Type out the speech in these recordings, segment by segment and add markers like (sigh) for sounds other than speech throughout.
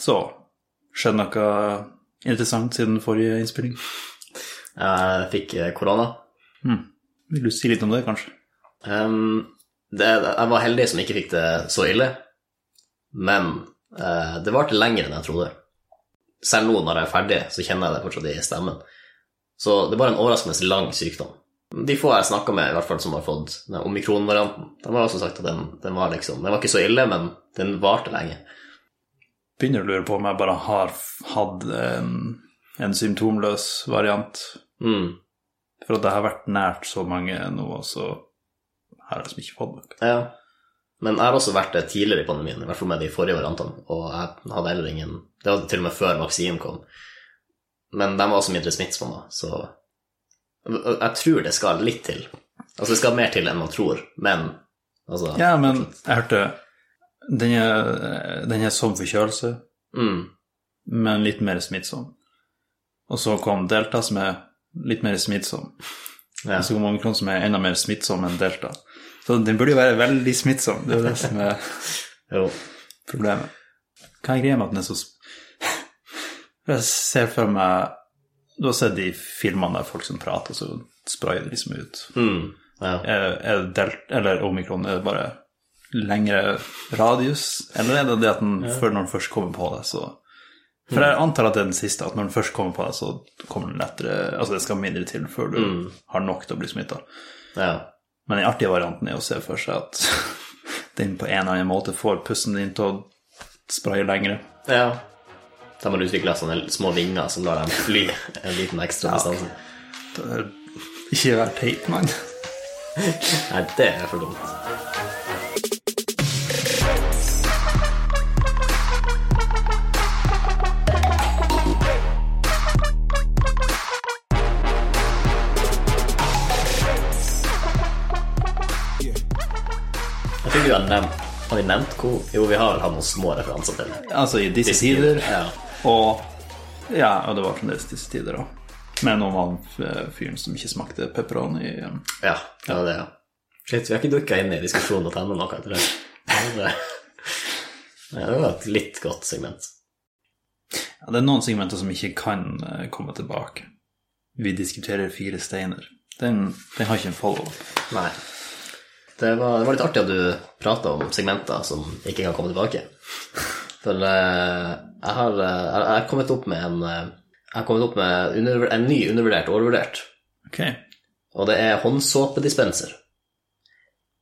Så skjedde noe interessant siden forrige innspilling. Jeg fikk eh, korona. Hmm. Vil du si litt om det, kanskje? Ehm, det, jeg var heldig som ikke fikk det så ille, men eh, det varte lenger enn jeg trodde. Selv nå når jeg er ferdig, så kjenner jeg det fortsatt i stemmen. Så det var en overraskende lang sykdom. De få jeg snakka med, i hvert fall som har fått den omikron-varianten, de har også sagt at den, den var liksom Den var ikke så ille, men den varte lenge. Begynner å lure på om jeg bare har f- hatt en, en symptomløs variant. Mm. For at det har vært nært så mange nå, og så har jeg liksom ikke fått noe. Ja. Men jeg har også vært det tidligere i pandemien, i hvert fall med de forrige variantene, og jeg hadde heller ingen Det var til og med før vaksinen kom. Men de var også mindre smittsomme, så Jeg tror det skal litt til. Altså, det skal mer til enn man tror, men altså Ja, men jeg hørte den er, den er som forkjølelse, mm, men litt mer smittsom. Og så kom delta, som er litt mer smittsom. ja. Og så kom omikron, som er enda mer smittsom enn delta. Så den burde jo være veldig smittsom, det er jo det som er Jo. problemet. Hva er greia med at den er så sp- Jeg ser for meg Du har sett de filmene der folk som prater, og så sprayer de liksom ut. Mm, ja. Er, er delta, eller omikron er det bare lengre radius, eller er det det at den, før når den først kommer på deg, så For jeg antar at det er den siste, at når den først kommer på deg, så kommer den lettere Altså det skal mindre til før du Mm. har nok til å bli smitta. ja. Men den artige varianten er å se for seg at (laughs) den på en eller annen måte får pusten din til å spraye lengre. Ja. De har utvikla sånne små vinger som lar dem fly en liten ekstra distanse. Ikke vær teit, mann. Nei, det er for dumt. Jeg tror vi har nevnt Har vi nevnt hvor Jo, vi har vel hatt noen små referanser til det. Altså, i disse tider Ja. og Ja, og det var fremdeles disse tider òg. Med noen av han fyren som ikke smakte um, pepperoni. ja, det var det, ja. Shit, vi har ikke dukka inn i diskusjonen og tegna noe etter det. Men det- Nei, det var et litt godt segment. Ja, det er noen segmenter som ikke kan eh, komme tilbake. Vi diskuterer Fire steiner. Den, den har ikke en follow-up. Nei. Det var, det var litt artig at du prata om segmenter som ikke kan komme tilbake. For eh, jeg har eh, jeg jeg har kommet opp med en eh, jeg har kommet opp med under, en ny undervurdert og overvurdert, Ok. og det er håndsåpedispenser.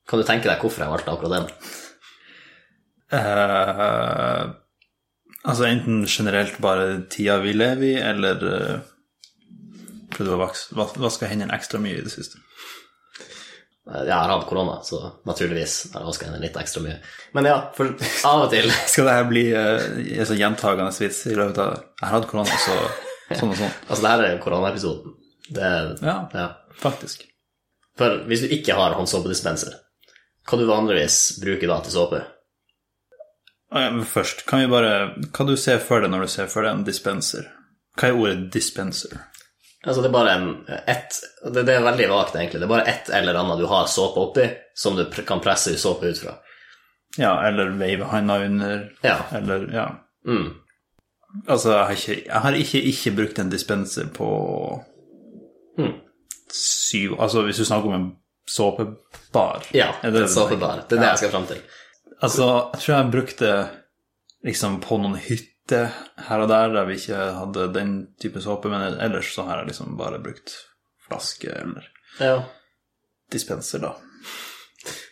Kan du tenke deg hvorfor jeg valgte akkurat den? Eh, altså enten generelt bare tida vi lever i, eller eh, prøvde å vaks- vas- vaske hendene ekstra mye i det siste. Eh, Jeg har hatt korona, så naturligvis har jeg vaska henne litt ekstra mye. Men ja, for av og til Skal det her bli eh, en sånn gjentagende vits i løpet av Jeg har hatt korona, så sånn og sånn. Altså, det her er jo koronaepisoden. Det er Ja, ja. faktisk. For hvis du ikke har håndsåpedispenser, hva du vanligvis bruker da til såpe? Ah, ja, Men først, kan vi bare Hva du ser for deg når du ser for deg en dispenser? Hva er ordet 'dispenser'? Altså det er bare en, ett, det, det er veldig vagt egentlig, det er bare ett eller annet du har såpe oppi, som du pr kan presse såpe ut fra. Ja, eller veive handa under, Ja. eller Ja. Mm. Altså, jeg har ikke, jeg har ikke, ikke brukt en dispenser på Hmm. syv Altså, hvis du snakker om en såpebar Ja, er det det du tenker? såpebar. Det er det jeg skal fram til. Altså, jeg tror jeg brukte liksom på noen hytter her og der der vi ikke hadde den type såpe, men ellers så har jeg liksom bare brukt flaske eller Ja. dispenser, da.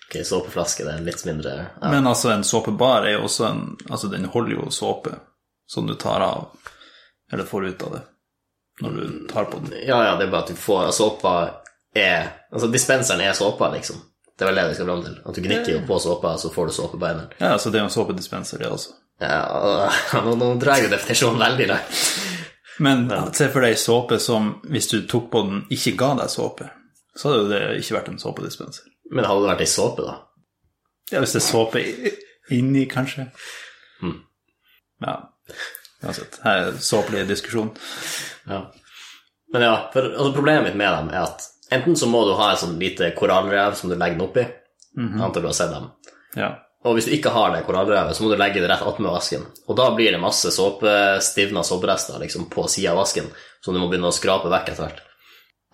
Ok, såpeflaske, det er litt mindre ja. Men altså, en såpebar er jo også en Altså, den holder jo såpe som du tar av, eller får ut av det, når du tar på den. ja, ja, det er bare at du får altså, Såpa er Altså, dispenseren er såpa, liksom. Det er vel det vi skal fram til. At du gnikker jo på såpa, så får du såpe på hendene. Ja, altså, det er jo en såpedispenser, det også. Ja, (laughs) nå, nå drar jeg jo definisjonen veldig langt. Men se for deg såpe som, hvis du tok på den, ikke ga deg såpe, så hadde jo det ikke vært en såpedispenser. Men hadde det vært ei såpe, da? Ja, hvis det er såpe i- inni, kanskje. Hmm. Ja, uansett. Her er såpelig diskusjon. Ja. Men ja, for altså, problemet mitt med dem er at enten så må du ha et sånn lite korallrev som du legger den oppi, mm antar du har sett dem, Ja. Og hvis du ikke har det korallrevet, så må du legge det rett attmed vasken. Og da blir det masse såpe, stivna såperester liksom, på sida av vasken, som du må begynne å skrape vekk etter hvert.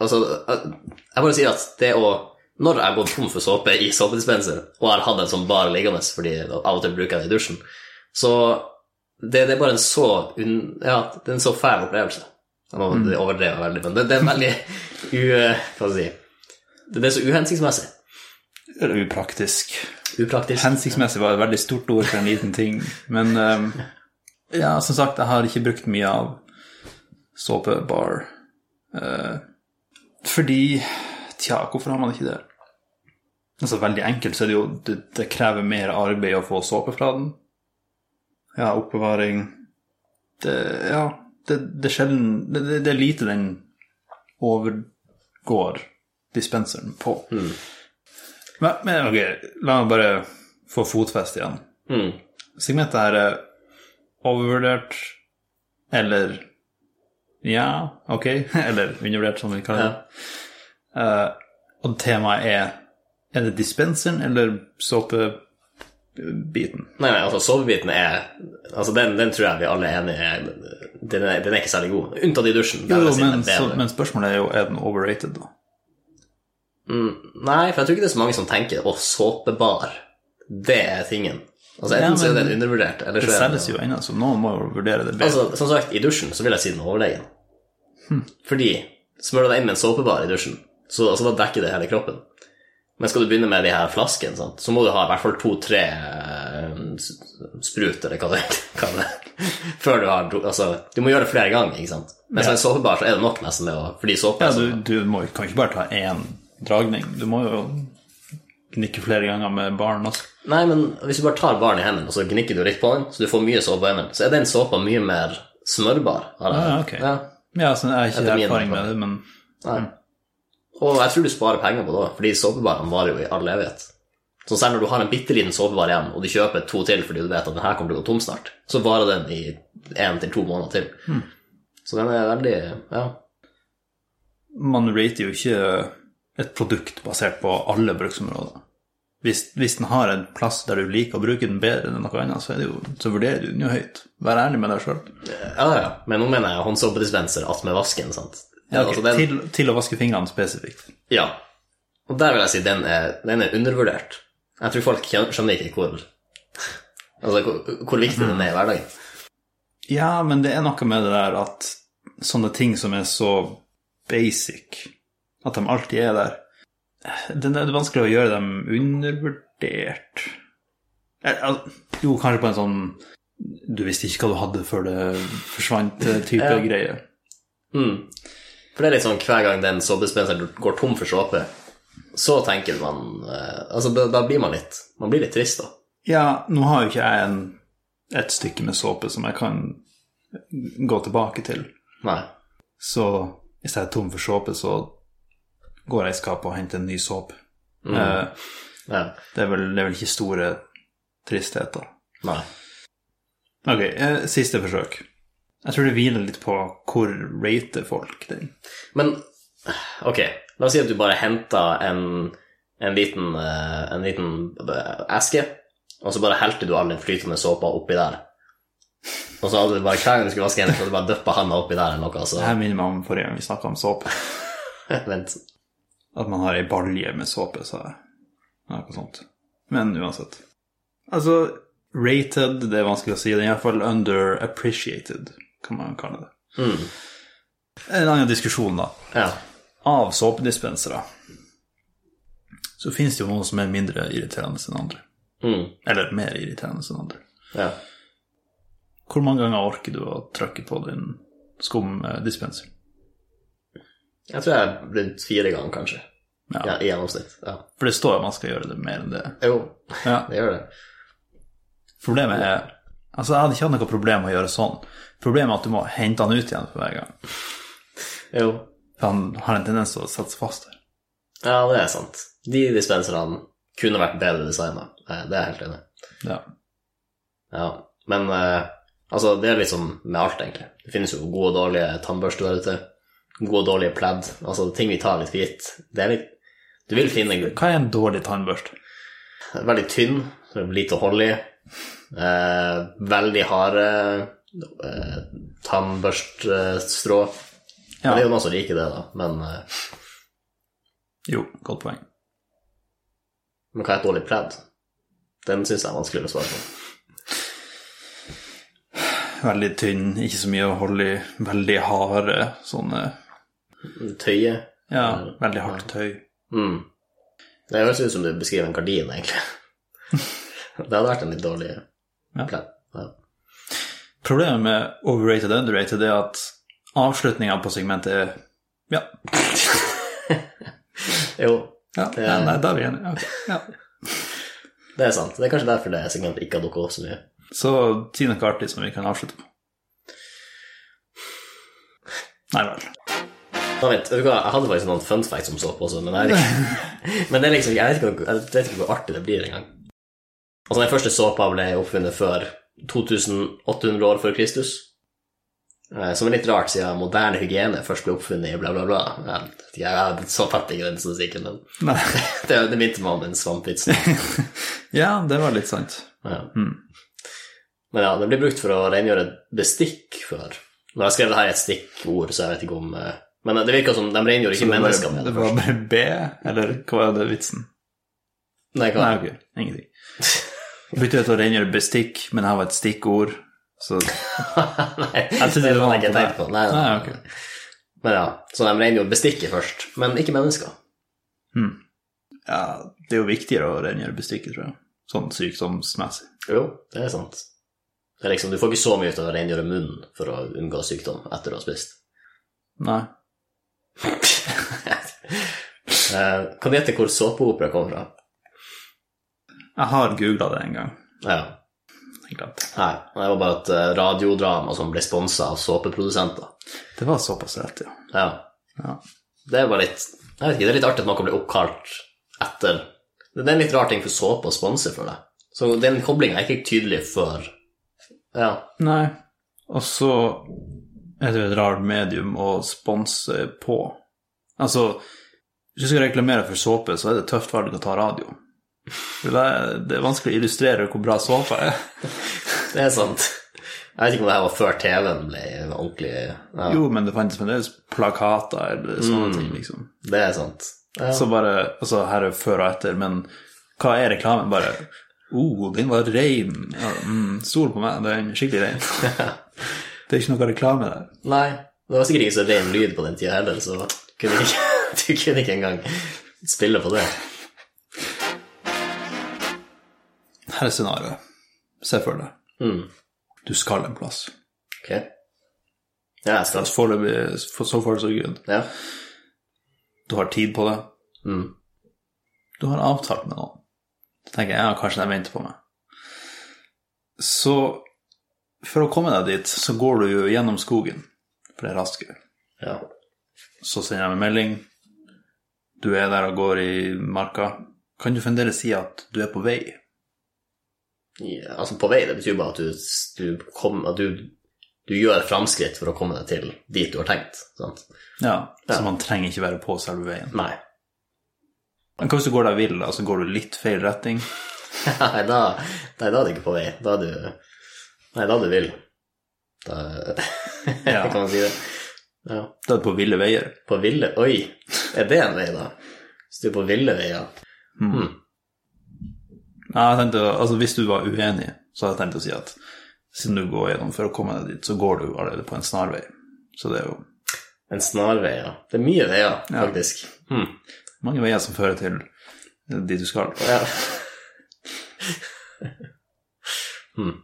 Altså, jeg jeg bare sier at det å Når jeg har gått tom for såpe i såpedispenser, og jeg har hatt en sånn bar liggende fordi av og til bruker jeg det i dusjen, så det, det er bare en så un, Ja, det er en så fæl opplevelse. Nå overdrev jeg veldig, men det, det er en veldig u... Hva skal jeg si Det, det er så uhensiktsmessig. Eller upraktisk. Upraktisk. Hensiktsmessig var et veldig stort ord for en liten ting. Men ehm, ja, som sagt, jeg har ikke brukt mye av såpebar. Eh, fordi Tja, hvorfor har man ikke det? Altså, veldig enkelt så er det jo Det, det krever mer arbeid å få såpe fra den. Ja, oppbevaring Det Ja, det, det er sjelden det, det, det er lite den overgår dispenseren på. Men, men ok, la meg bare få fotfest igjen. Mm. Segmentet her er overvurdert eller ja, ok, (laughs) eller undervurdert, som vi kaller det. Eh, og temaet er er det dispenseren eller såpebiten? Nei, nei, altså sovebiten er Altså den, den tror jeg vi alle er enige er den, er den er ikke særlig god. Unntatt i dusjen. der Jo, vil jo, jeg si den men, er bedre. så, men spørsmålet er jo er den overrated, da. Nei, for jeg tror ikke det er så mange som tenker 'å, såpebar'. Det er tingen. Altså Enten Ja, så er men den undervurdert, eller Det så er den selges jo ennå, så noen må jo vurdere det bedre. Altså, Som sagt, i dusjen så vil jeg si den er overlegen. Hm. Fordi smører du deg inn med en såpebar i dusjen, så altså, da dekker det hele kroppen. Men skal du begynne med de her flaskene, sant? så må du ha i hvert fall to-tre eh, s- sprut, eller hva det (laughs) hva det er, før du har dro- Altså, du må gjøre det flere ganger, ikke sant? Men som en såpebar så er det nok nesten med å Fordi såpe ja, er du, du må, kan ikke bare ta én dragning. Du må jo nikke flere ganger med baren også. Nei, men hvis du bare tar baren i hendene og så gnikker du litt på den, så du får mye såpe på hendene, så er den såpa mye mer smørbar. har jeg Ah, Ja, hørt. ok. Ja, så jeg har Etter ikke min erfaring med det, men Nei. Mm. Og jeg tror du sparer penger på det òg, fordi såpebarene varer jo i all evighet. Så selv når du har en bitte liten såpebar igjen, og du kjøper to til fordi du vet at den her kommer til å gå tom snart, så varer den i én til to måneder til. Mm. Så den er veldig Ja. man rater jo ikke et produkt basert på alle bruksområder. Hvis, hvis den har en plass der du liker å bruke den bedre enn noe annet, så, er det jo, så vurderer du den jo høyt. Vær ærlig med deg sjøl. ja, ja. Men nå mener jeg håndsåpedispenser attmed vasken, sant. Ja, ok, Altså, den- til, til å vaske fingrene spesifikt. Ja. Og der vil jeg si den er, den er undervurdert. Jeg tror folk kjen- skjønner ikke hvor (laughs) Altså hvor, hvor viktig den er i hverdagen. Ja, men det er noe med det der at sånne ting som er så basic, at de alltid er der Det er vanskelig å gjøre dem undervurdert. Eh, al- Jo, kanskje på en sånn Du visste ikke hva du hadde før det forsvant-type Ja. greie. Mm. For det er litt sånn hver gang den såpedispenseren går tom for såpe, så tenker man eh, Altså da, da blir man litt Man blir litt trist, da. Ja, nå har jo ikke jeg en, et stykke med såpe som jeg kan gå tilbake til. Nei. Så hvis jeg er tom for såpe, så går jeg i skapet og henter en ny såpe. Mm. Eh, Ja. Det er vel, det er vel ikke store tristheter. Nei. Ok, eh, siste forsøk. Jeg tror det hviler litt på hvor rater folk den. Men ok, la oss si at du bare henter en, en liten, eh, en liten eh, eske, og så bare helte du all den flytende såpa oppi der. Og så hadde du bare hver gang du skulle vaske hendene, så hadde du bare dyppa handa oppi der eller noe. Det her minner meg om forrige gang vi snakka om såpe. Så (laughs) vent. At man har ei balje med såpe, sa jeg. Noe sånt. Men uansett. Altså, rated, det er vanskelig å si. Den er iallfall underappreciated, kan man kalle det. Mm. En annen diskusjon, da. Ja. Av såpedispensere så finnes det jo noen som er mindre irriterende enn andre. Mm. Eller mer irriterende enn andre. ja. Hvor mange ganger orker du å trykke på din skumdispenser? Jeg tror jeg rundt fire ganger, kanskje. Ja. Ja, I gjennomsnitt. Ja. For det står at man skal gjøre det mer enn det. Jo, Ja. det gjør det. Problemet er Altså, jeg hadde ikke hatt noe problem med å gjøre sånn. Problemet er at du må hente han ut igjen for hver gang. Jo. For han har en tendens til å sette seg fast der. Ja, det er sant. De dispenserne kunne vært bedre designa. Det er jeg helt enig i. Ja. Ja, men eh, altså, det er liksom med alt, egentlig. Det finnes jo gode og dårlige tannbørster der ute. Gode og dårlige pledd. Altså ting vi tar litt for gitt. Det er litt Du vil finne Hva er en dårlig tannbørste? Veldig tynn, lite hold i. Eh, veldig harde eh, tannbørststrå. Men Ja. Det er jo noen som liker det, da. Men, eh, Jo, godt poeng. men hva er et dårlig pledd? Den syns jeg er vanskeligere å svare på. Veldig tynn, ikke så mye å holde i. Veldig harde sånne Tøye. Ja, veldig hardt tøy. Mm. Det høres ut som du beskriver en gardin, egentlig. (laughs) det hadde vært en litt dårlig Ja. pledd. Ja. Problemet med overrated og underrated er at avslutninga på segmentet er Ja. Jo, ja nei, nei, der er vi enige. Ok, Ja. det er sant. Det er kanskje derfor det segmentet ikke har dukket opp så mye. Så si noe artig som vi kan avslutte på. Nei vel. Nei, vent, vet du hva? Jeg hadde faktisk noen fun facts om såpe også, men, jeg, er ikke- men det er liksom, jeg, vet ikke, hvor- jeg vet ikke hvor artig det blir engang. Altså, den første såpa ble oppfunnet før 2800 år før Kristus, eh, som er litt rart siden moderne hygiene først ble oppfunnet i bla bla bla. Jeg vet ikke, jeg er så tatt i grensen sikkert, men Nei. det, det minte meg om (laughs) den svampvitsen. Ja, det var litt sant. Ja. Mm. Men ja, det blir brukt for å rengjøre bestikk før. Når jeg skrev det her i et stikkord, så jeg vet ikke om eh, Men det virker som de rengjorde ikke det var- mennesker med det Det var først. bare B, eller hva var det vitsen? Nei, hva? Nei, ok, ingenting. Jeg Bytte ut å rengjøre bestikk, men her var et stikkord, så (laughs) Nei, trodde det det var hadde jeg ikke noe tenkt på. Nei, nei, Nei, nei. ok. Men ja, så de rengjorde bestikket først, men ikke mennesker. Ja, det er jo viktigere å rengjøre bestikket, tror jeg. Sånn sykdomsmessig. Jo, det er sant. Det er liksom, du får ikke så mye ut av å rengjøre munnen for å unngå sykdom etter å ha spist. Nei. Eh, kan du gjette hvor såpeopera kom fra? Jeg har googla det en gang. Ja, Jeg glemte. nei, det var bare et eh, radiodrama som ble sponsa av såpeprodusenter. Det var såpass rett, ja. Ja. Ja. Det er bare litt Jeg vet ikke, det er litt artig at noe blir oppkalt etter Det er en litt rar ting for såpe å sponse for deg. Så den koblingen er ikke tydelig før Ja. Nei. Og så er det jo et rart medium å sponse på. Altså, hvis du skal reklamere for såpe, så er det tøft valg å ta radio. For Det er, det er vanskelig å illustrere hvor bra såpe er. Det er sant. Jeg vet ikke om det her var før TV-en ble ordentlig ja, Jo, men det fantes fremdeles plakater eller sånne ting, liksom. Det er sant. Ja. Så bare Altså, her er før og etter, men hva er reklamen? Bare oh, den var rein. Ja, mm, stol på meg, den er skikkelig rein. (laughs) Det er ikke noe reklame der. Nei, det var sikkert ikke så ren lyd på den tida heller, så kunne ikke, (laughs) du kunne ikke engang spille på det. Her er scenarioet. Se for deg. Mm. Du skal en plass. Ok. Ja, jeg skal Altså foreløpig for so far so good. Ja. Du har tid på det. Mm. Du har avtalt med noen. Så tenker jeg ja, kanskje de venter på meg. Så for å komme deg dit, så går du jo gjennom skogen, for det er raskere. ja. Så sender de en melding. Du er der og går i marka. Kan du fremdeles si at du er på vei? Ja, altså på vei, det betyr bare at du, du, kom, at du, du gjør framskritt for å komme deg til dit du har tenkt. Sant? Ja, Ja. Så man trenger ikke være på selve veien. Nei. Men hva hvis du går deg vill, da, så går du litt feil retning? (laughs) nei, da, nei, da er du ikke på vei. Da er du Nei, da er du vill. Da (laughs) Ja. kan man si det. Ja. Da er du på ville veier. På ville Oi, er det en vei, da? Hvis du er på ville veier Nei, jeg tenkte, altså Hvis du var uenig, så hadde jeg tenkt å si at siden du går gjennom for å komme deg dit, så går du allerede på en snarvei. Så det er jo En snarvei, ja. Det er mye veier, Ja. faktisk. Hmm. mange veier som fører til dit du skal. Ja. Hmm.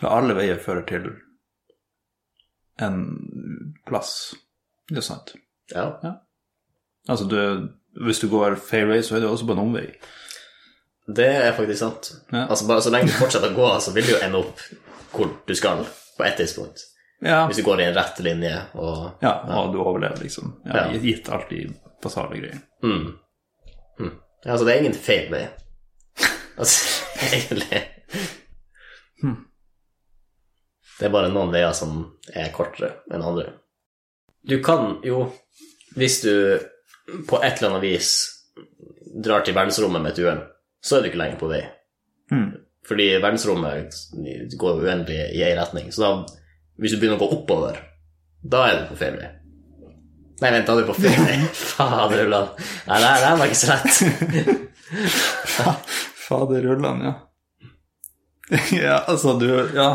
For alle veier fører til en plass. Det er sant. ja. Altså, du, hvis du går feil vei, så er du også på en omvei. Det er faktisk sant. Ja. Altså, bare så lenge du fortsetter å gå, så vil du jo ende opp hvor du skal, på et tidspunkt. Ja, Hvis du går i en rett linje og ja og du overlever, liksom. Ja, Ja. Gitt alt de basale greiene. mm. Mm. Ja, Altså, det er ingen feil vei. Altså, (laughs) egentlig. Det er bare noen veier som er kortere enn andre. Du kan jo, hvis du på et eller annet vis drar til verdensrommet med et uhell, så er du ikke lenger på vei. Mm. Fordi verdensrommet går jo uendelig i én retning. Så da, hvis du begynner å gå oppover, da er du på feil vei. Nei, vent, da er du på (laughs) feil vei. Fader, Ulland. Nei, det her det her var ikke så lett. Fader Ulland, ja. ja, altså, du Ja.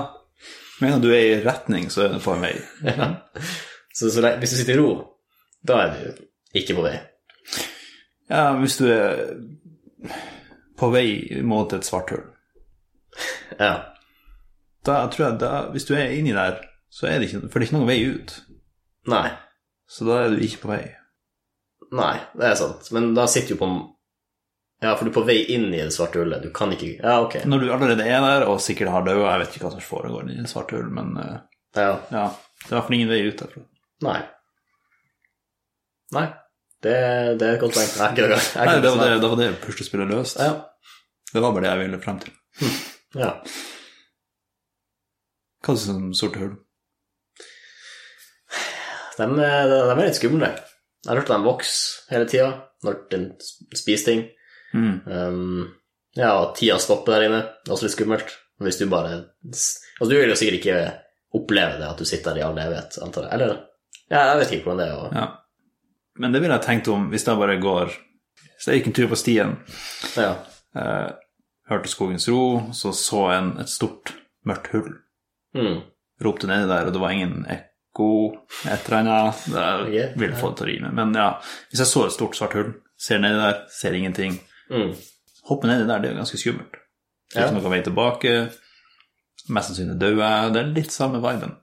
Mener du er i retning, så er du på en vei. Ja. Så, så lenge, hvis du sitter i ro, da er du ikke på vei. Ja, hvis du er på vei mot et svart hull. Ja. Da tror jeg da, Hvis du er inni der, så er det ikke For det er ikke noen vei ut. Nei. Så da er du ikke på vei. Nei, det er sant. Men da sitter du på en- Ja, for du er på vei inn i det svarte hullet. Du kan ikke Ja, ok. Når du allerede er der, og sikkert har dødd Jeg vet ikke hva som foregår i et svart hull, men eh, Ja. ja. Det er i hvert fall ingen vei ut derfra. Nei. Nei. Det, det er et godt poeng. Nei, ikke det. Jeg Nei, det kunne var ikke det, det, var det puslespillet løst. Ja. Det var bare det jeg ville frem til. ja. Hva synes du om sorte hull? De, er- de er litt skumle. Jeg har hørt at de vokser hele tida når den spiser ting. Mm. Um, ja, og tida stopper der inne. Det er også litt skummelt. Men Hvis du bare Altså, du vil jo sikkert ikke oppleve det at du sitter der i all evighet, antar jeg. Eller? Ja, jeg vet ikke hvordan det er å Ja. Men det ville jeg tenkt om hvis jeg bare går Hvis jeg gikk en tur på stien, ja. eh, hørte skogens ro, så så en et stort, mørkt hull. Mm. Ropte nedi der, og det var ingen ekko, et eller annet. Det Ok, ville få det til å rime. Men ja, hvis jeg så et stort, svart hull, ser nedi der, ser ingenting Mm. Hoppe nedi der, det er jo ganske skummelt. Det er Ja. ikke noen vei tilbake. Mest sannsynlig dør jeg. Det er litt samme viben.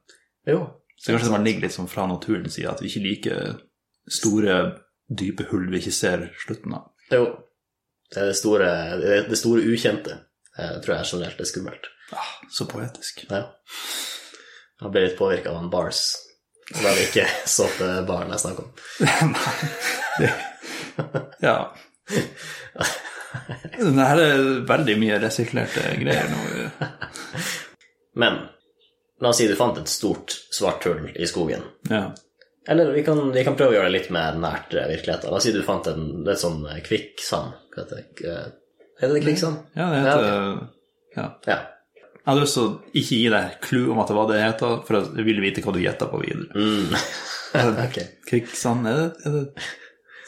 Jo. Så kanskje det bare ligger litt sånn fra naturens side, at vi ikke liker store, dype hull vi ikke ser slutten av. jo. Det er det store, det, er det store ukjente. eh, tror jeg generelt er skummelt. Ah, så poetisk. Ja. Jeg ble litt påvirka av en bars. Og da er det ikke (laughs) såpebaren jeg snakker om. Ja. Det her er veldig mye resirkulerte greier nå. Men la oss si du fant et stort, svart hull i skogen. Ja. Eller vi kan, vi kan prøve å gjøre det litt mer nært eh, virkeligheten. La oss si du fant en litt sånn eh, kvikksand. Hva heter det? Eh, Heter det kvikksand? ja, det heter ja. Ja. Jeg hadde lyst til å ikke gi deg clue om at det var det det heter, for jeg ville vite hva du gjetta på videre. Mm. (laughs) ok. Kvikksand Er det, er det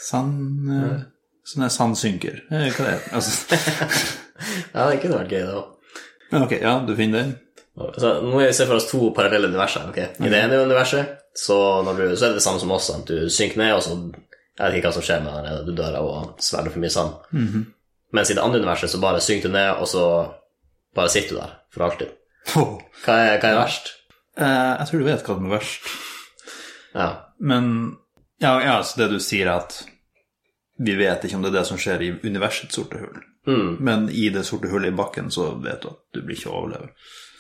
sand eh, Sånn er sandsynker. Eh, Hva det er det? Altså, Ja, det kunne vært gøy, det òg. men ok, ja, du finner den? Så nå må vi se for oss to parallelle universer. ok? I det ene universet så, når du, så er det det samme som oss. Sant? Du synker ned, og så jeg vet ikke hva som skjer med deg. Du dør av å svelge for mye sand. Mhm. Mens i det andre universet så bare synker du ned, og så bare sitter du der for alltid. Åh. Hva er, hva er verst? Eh, Jeg tror du vet hva som er verst. Ja. Men ja, ja, så det du sier er at vi vet ikke om det er det som skjer i universets sorte hull. Mm. Men i det sorte hullet i bakken så vet du at du blir ikke å overleve.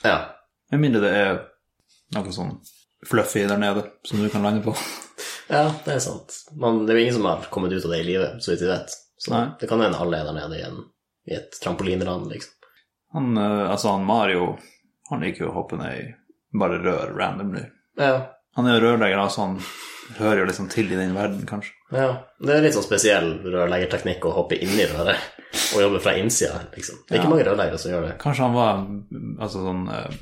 ja. Med mindre det er noe sånn fluffy der nede som du kan lande på. Ja, det er sant. Men det er jo ingen som har kommet ut av det i livet, så vidt vi vet. Så Nei. det kan hende alle er der nede i, en, i et trampolinland, liksom. Han, eh, altså han Mario, han liker jo å hoppe ned i bare rør randomly. Ja. Han er jo rørlegger, altså han hører jo liksom til i den verden, kanskje. ja. Det er litt sånn spesiell rørleggerteknikk å hoppe inn i røret og jobbe fra innsida, liksom. Det er ikke Ja. mange rørleggere som gjør det. Kanskje han var mm, altså sånn eh,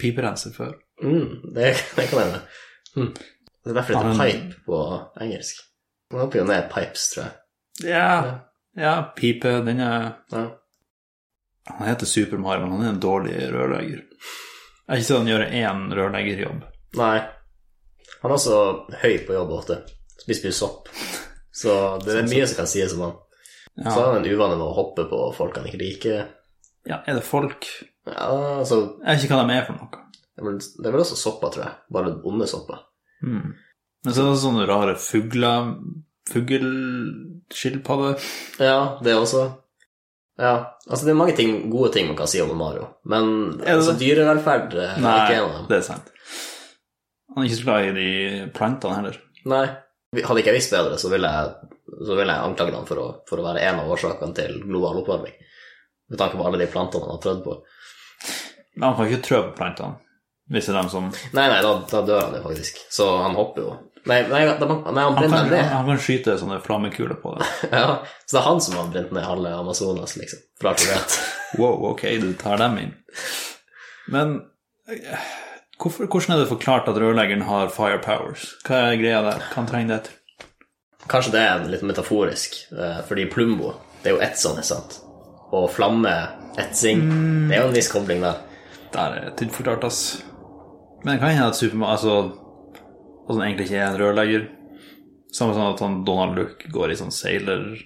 piperenser før. Mm, det, det kan hende. Mm. Det er derfor det heter Han- pipe på engelsk. Man hopper jo ned pipes, tror jeg. Ja, ja, pipe, den er Ja. Han heter Super Mario, men han er en dårlig rørlegger. Jeg har ikke sett han gjøre én rørleggerjobb. Nei. Han er også høy på jobb ofte. Spiser mye sopp. Så det er mye som kan sies om han. Så Ja. har han en uvane med å hoppe på folk han ikke liker. ja, er det folk Jeg Ja, altså, vet ikke hva de er for noe. det er vel- det er vel også sopper, tror jeg. Bare onde sopper. Hmm. Men så er det også sånne rare fugler Fugleskilpadde. Ja, det også. Ja, altså det er mange ting, gode ting man kan si om Mario, men Er det altså, det? dyrevelferd eh, er ikke en av dem. det er sant. Han er ikke så glad i de plantene heller. Nei. Hadde ikke jeg visst bedre, så ville jeg, så ville jeg anklage ham for å, for å være en av årsakene til global oppvarming. Med tanke på alle de plantene han har prøvd på. Men han kan ikke trø på plantene. Hvis det er dem som Nei, nei, da, da dør han jo faktisk. Så han hopper jo. Nei, nei, da, nei Han han brenner kan, ned. han kan skyte sånne flammekuler på det. Ja, så det er han som har brent ned halve Amazonas, liksom. For alt vi vet. Wow, ok, du tar dem inn. Men eh, hvorfor, hvordan er det forklart at rørleggeren har fire powers? Hva er greia der? Hva han trenger det til? Kanskje det er litt metaforisk, eh, fordi Plumbo, det er jo etsende, sant? Og flamme, etsing, Mm. det er jo en viss kobling der. Der er det tynt forklart, ass. Men det kan hende at Supermann altså, altså, han egentlig ikke er en rørlegger. Samme som at han Donald Duck går i sånn sailorjakke.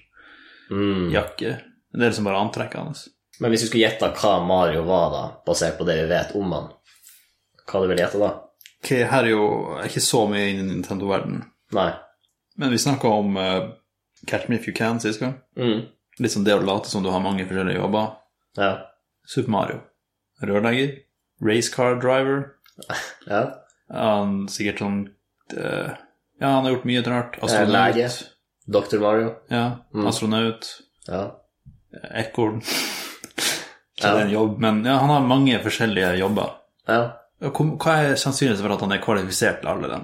Det er liksom bare antrekket hans. Men hvis du skulle gjette hva Mario var da, basert på det vi vet om han, hva du ville gjette da? Ok, her er jo ikke så mye innen Nintendo-verden. Nei. Men vi snakka om eh, Catch Me If You Can sist gang. Mm. Litt som det å late som du har mange forskjellige jobber. Ja. Super Mario. Rørlegger. Racecar driver. ja. Han sikkert sånn eh, Ja, han har gjort mye rart. lege. Astronaut. Dr. Mario. Ja, astronaut. Ja. Ekorn. Ikke Ja. det er en jobb, men ja, han har mange forskjellige jobber. Ja. Og kom- Hva er sannsynligheten for at han er kvalifisert til alle dem?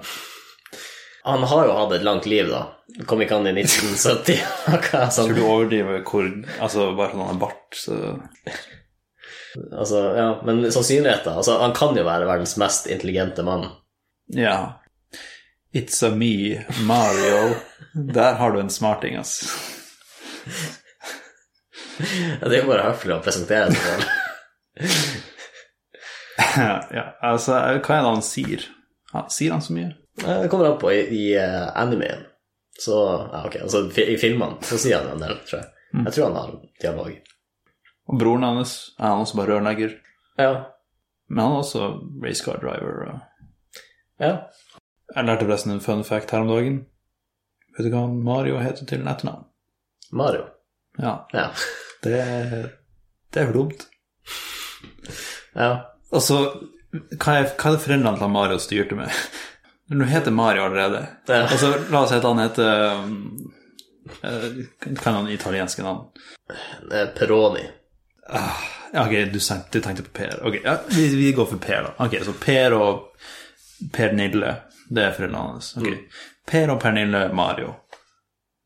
Han har jo hatt et langt liv da. Kom ikke han i (laughs) sånn. 1970? Hva er sant? Tror du overdriver hvor Altså, bare fordi han har bart, så Altså, ja, men sannsynligheten altså, Han kan jo være verdens mest intelligente mann. Ja. It's a me, Mario. Der har du en smarting, ass. (laughs) Ja, Det er jo bare høflig å presentere seg selv. ja, altså, hva er det han sier? Han, sier han så mye? Ja, Det kommer an på i, i eh, animeen. Så, ja, ok, altså fi- I filmene så sier han en del, tror jeg. Jeg tror han har dialog. Og broren hans, er han også bare rørlegger? Ja. Men han er også racecar driver. og- ja. Jeg lærte forresten en fun fact her om dagen. Vet du hva han Mario heter til etternavn? Mario. Ja, Ja. det er, det er for dumt. ja. Altså, hva er, hva er det foreldrene til han Mario styrte med? (laughs) Når du heter Mario allerede Ja. Altså, la oss si at han heter um, eh, Kan han italienske navn? Eh, Peroni. Ja, ok, du tenkte, du tenkte på Per. Ok, ja, vi, vi går for Per, da. Ok, Så Per og Per Nille, det er foreldrene hans. Ok. Per og Pernille Mario.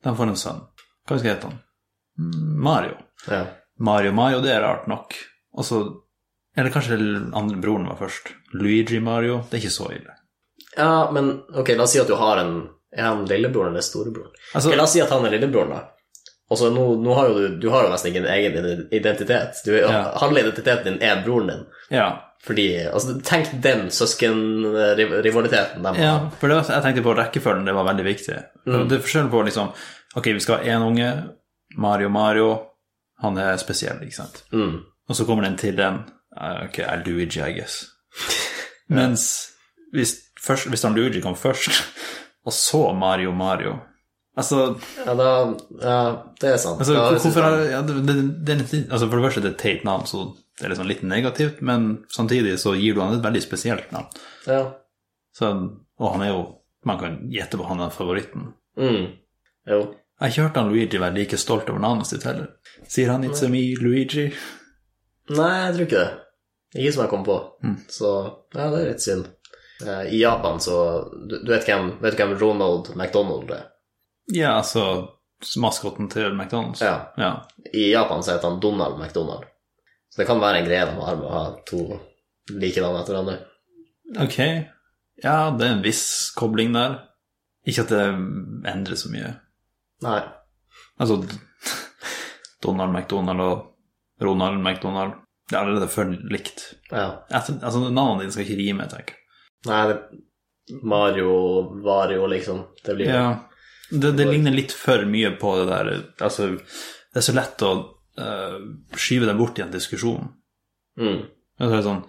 De får en sønn. Hva skal hete han? Mm, Mario. Ja. Mario Mario, det er rart nok. Og så Eller kanskje den andre broren var først. Luigi Mario. Det er ikke så ille. ja, men ok, la oss si at du har en Er han lillebroren eller storebroren? Altså- Ok, la oss si at han er lillebroren, da. Og så nå, nå har jo du, du har jo nesten ikke en egen identitet. Du, Ja. Halve identiteten din er broren din. Ja. Fordi, altså Tenk den søskenrivaliteten de har. ja for det, var- jeg tenkte på rekkefølgen, det var veldig viktig. Det er forskjell på liksom Ok, vi skal ha én unge. Mario Mario. Han er spesiell, ikke sant. Mm. Og så kommer den til den. eh, Ok, er Luigi, I guess. Mens hvis, først, hvis han Luigi kom først, (laughs) og så Mario Mario Altså Ja, da, ja, det er sant. Altså, da, hvor- hvorfor er, ja, det, det, det er litt, altså For det første det er et teit navn, så det er liksom litt negativt, men samtidig så gir du han et veldig spesielt navn. ja. Så, og han er jo Man kan gjette på han er favoritten. mm. Jo. Jeg har ikke hørt han Luigi være like stolt over navnet sitt heller. Sier han 'It's a me, Luigi'? Nei, jeg tror ikke det. Ikke som jeg kom på. Mm. Så ja, det er litt synd. Eh, I Japan så Du, du vet, hvem, vet du hvem Ronald McDonald er? Ja, altså maskotten til McDonald's. Ja. ja. I Japan så heter han Donald McDonald. Så det kan være en greie de har med å ha to like navn etter hverandre. Ok. Ja, det er en viss kobling der. Ikke at det endrer så mye. Nei. Altså (laughs) Donald McDonald og Ronald McDonald Det er allerede før likt. Ja. Etter, altså Navnene dine skal ikke rime, tenker jeg. Nei, det Mario, Vario, liksom. Det blir Ja. Det, det ligner litt for mye på det der Altså, det er så lett å eh, skyve det bort i en diskusjon. mm. (laughs) Men så er det sånn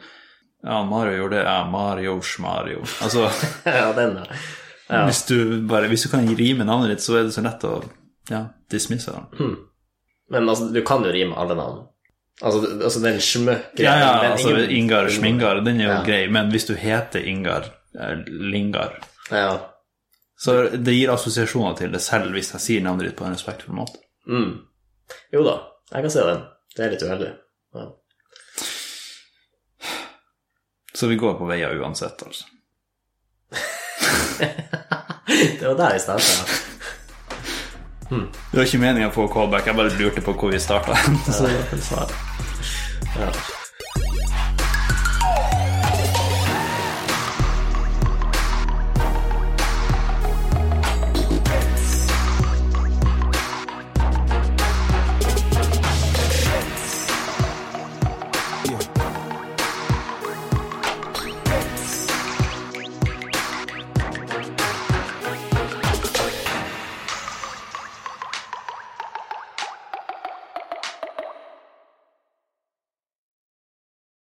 Ja, Mario gjorde det. Ja, Mario Schmario. Altså, Ja, den, ja. Ja. hvis, du bare, hvis du kan rime navnet ditt, så er det så lett å ja, dismisse det. Hmm. Men altså, du kan jo rime alle navn. Altså, du- altså den smøkgreia Ja, ja, den- altså ingen- Ingar Schmingar, den er jo Ja. grei, men hvis du heter Ingar eh, Lingar, Ja. så det gir assosiasjoner til det selv hvis jeg sier navnet ditt på en respektfull måte. Mm. Jo da, jeg kan se den. Det er litt uheldig. Ja. Så vi går på veier uansett, altså. Det var der jeg starta. (laughs) Det var ikke meninga på callback, jeg bare lurte på hvor vi starta. Ja.